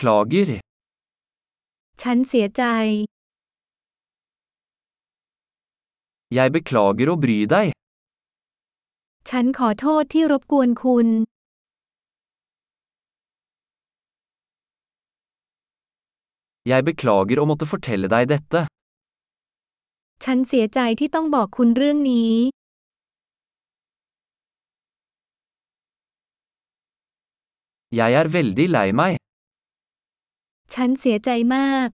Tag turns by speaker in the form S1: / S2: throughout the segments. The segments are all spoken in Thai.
S1: Beklager.
S2: ฉันเสียใจ
S1: Jeg beklager å bry deg.
S2: ฉันขอโทษที่รบกวนคุณ
S1: Jeg beklager å måtte fortelle deg dette.
S2: ฉันเสียใจที่ต้องบอกคุณเรื่องนี้
S1: Jeg er veldig lei meg.
S2: ฉันเสียใจมาก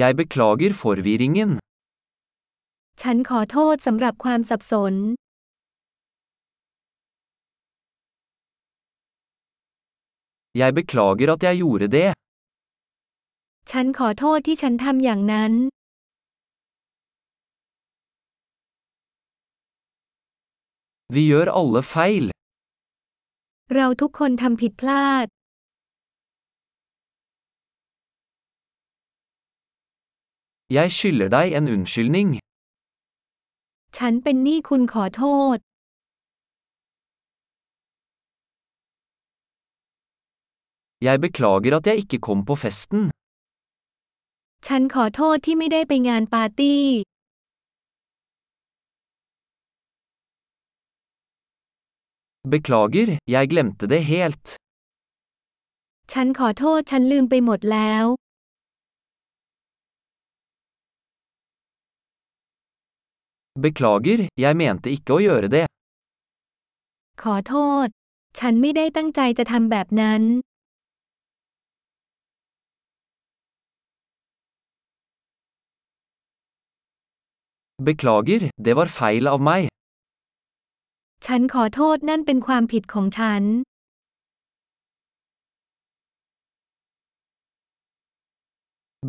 S1: Jeg beklager forvirringen.
S2: ฉันขอโทษสำหรับความสับสน
S1: Jeg beklager at jeg gjorde det.
S2: ฉันขอโทษที่ฉันทำอย่างนั้น
S1: Vi gjør alle feil.
S2: เราทุกคนทำผิดพลาด
S1: Jeg skylder deg en unnskyldning.
S2: ฉันเป็นหนี้คุณขอโทษ
S1: Jeg beklager at jeg ikke kom på festen.
S2: ฉันขอโทษที่ไม่ได้ไปงานปาร์ตี้
S1: Beklager, jeg glemte det helt.
S2: ฉันขอโทษฉันลืมไปหมดแล้ว
S1: Beklager, jeg mente ikke å gjøre det.
S2: ขอโทษ ฉันไม่ได้ตั้งใจจะทำแบบนั้น
S1: Beklager, det var feil av meg.
S2: ฉันขอโทษนั่นเป็นความผิดของฉัน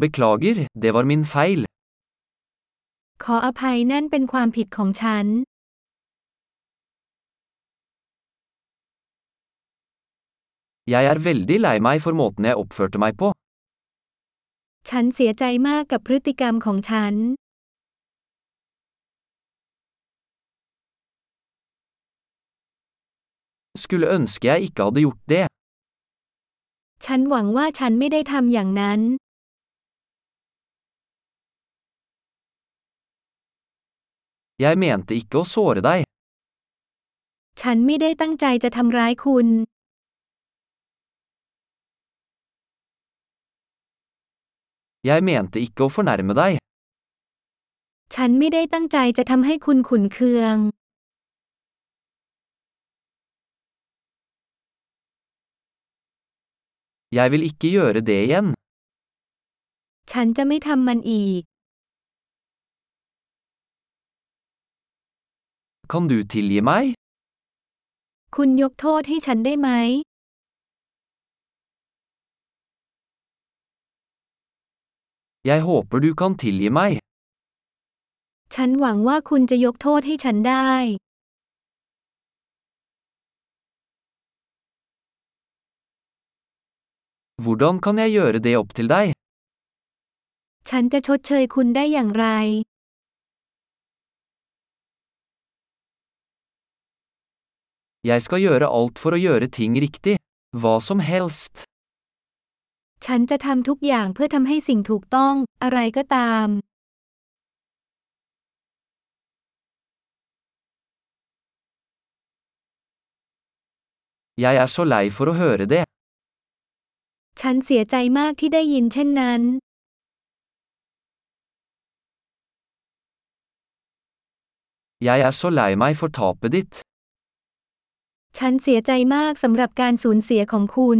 S1: Beklager, det var min feil.
S2: ขออภัยนั่นเป็นความผิดของฉัน
S1: Jeg er veldig lei meg for måten jeg oppførte meg på.
S2: ฉันเสียใจมากกับพฤติกรรมของฉัน
S1: Skulle ønske jeg ikke hadde gjort det.
S2: ฉันหวังว่าฉันไม่ได้ทำอย่างนั้น
S1: Jeg mente ikke å såre deg.
S2: ฉันไม่ได้ตั้งใจจะทำร้ายคุณ
S1: Jeg mente ikke å fornærme deg.
S2: ฉันไม่ได้ตั้งใจจะทำให้คุณขุนเคือง
S1: Jeg vil ikke gjøre det igjen.
S2: ฉันจะไม่ทำมันอีก
S1: Kan du tilgi meg?
S2: คุณยกโทษให้ฉันได้ไหม
S1: Jeg håper du kan tilgi meg.
S2: ฉันหวังว่าคุณจะยกโทษให้ฉันได้
S1: Hvordan kan jeg gjøre det opp til deg?
S2: ฉันจะชดเชยคุณได้อย่างไร
S1: Jeg skal gjøre alt for å gjøre ting riktig. Hva som helst.
S2: ฉันจะทำทุกอย่างเพื่อทำให้สิ่งถูกต้อง อะไรก็ตาม
S1: Jeg er så lei for å høre det.
S2: ฉันเสียใจมากที่ได้ยินเช่นนั้น
S1: Jeg er så lei meg for tapet ditt.
S2: ฉันเสียใจมากสำหรับการสูญเสียของคุณ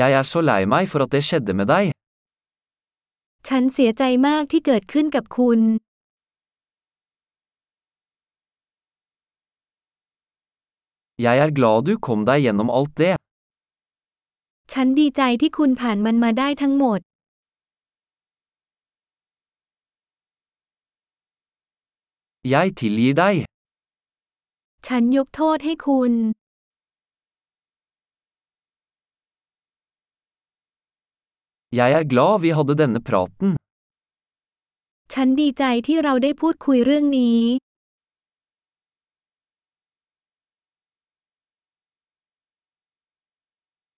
S1: Jeg er så lei meg for at det skjedde med deg.
S2: ฉันเสียใจมากที่เกิดขึ้นกับคุณ
S1: Jeg er glad du kom deg gjennom alt det.
S2: ฉันดีใจที่คุณผ่านมันมาได้ทั้งหมด
S1: Jeg tilgir deg.
S2: ฉันยกโทษให้คุณ
S1: Jeg er glad vi hadde denne praten.
S2: ฉันดีใจที่เราได้พูดคุยเรื่องนี้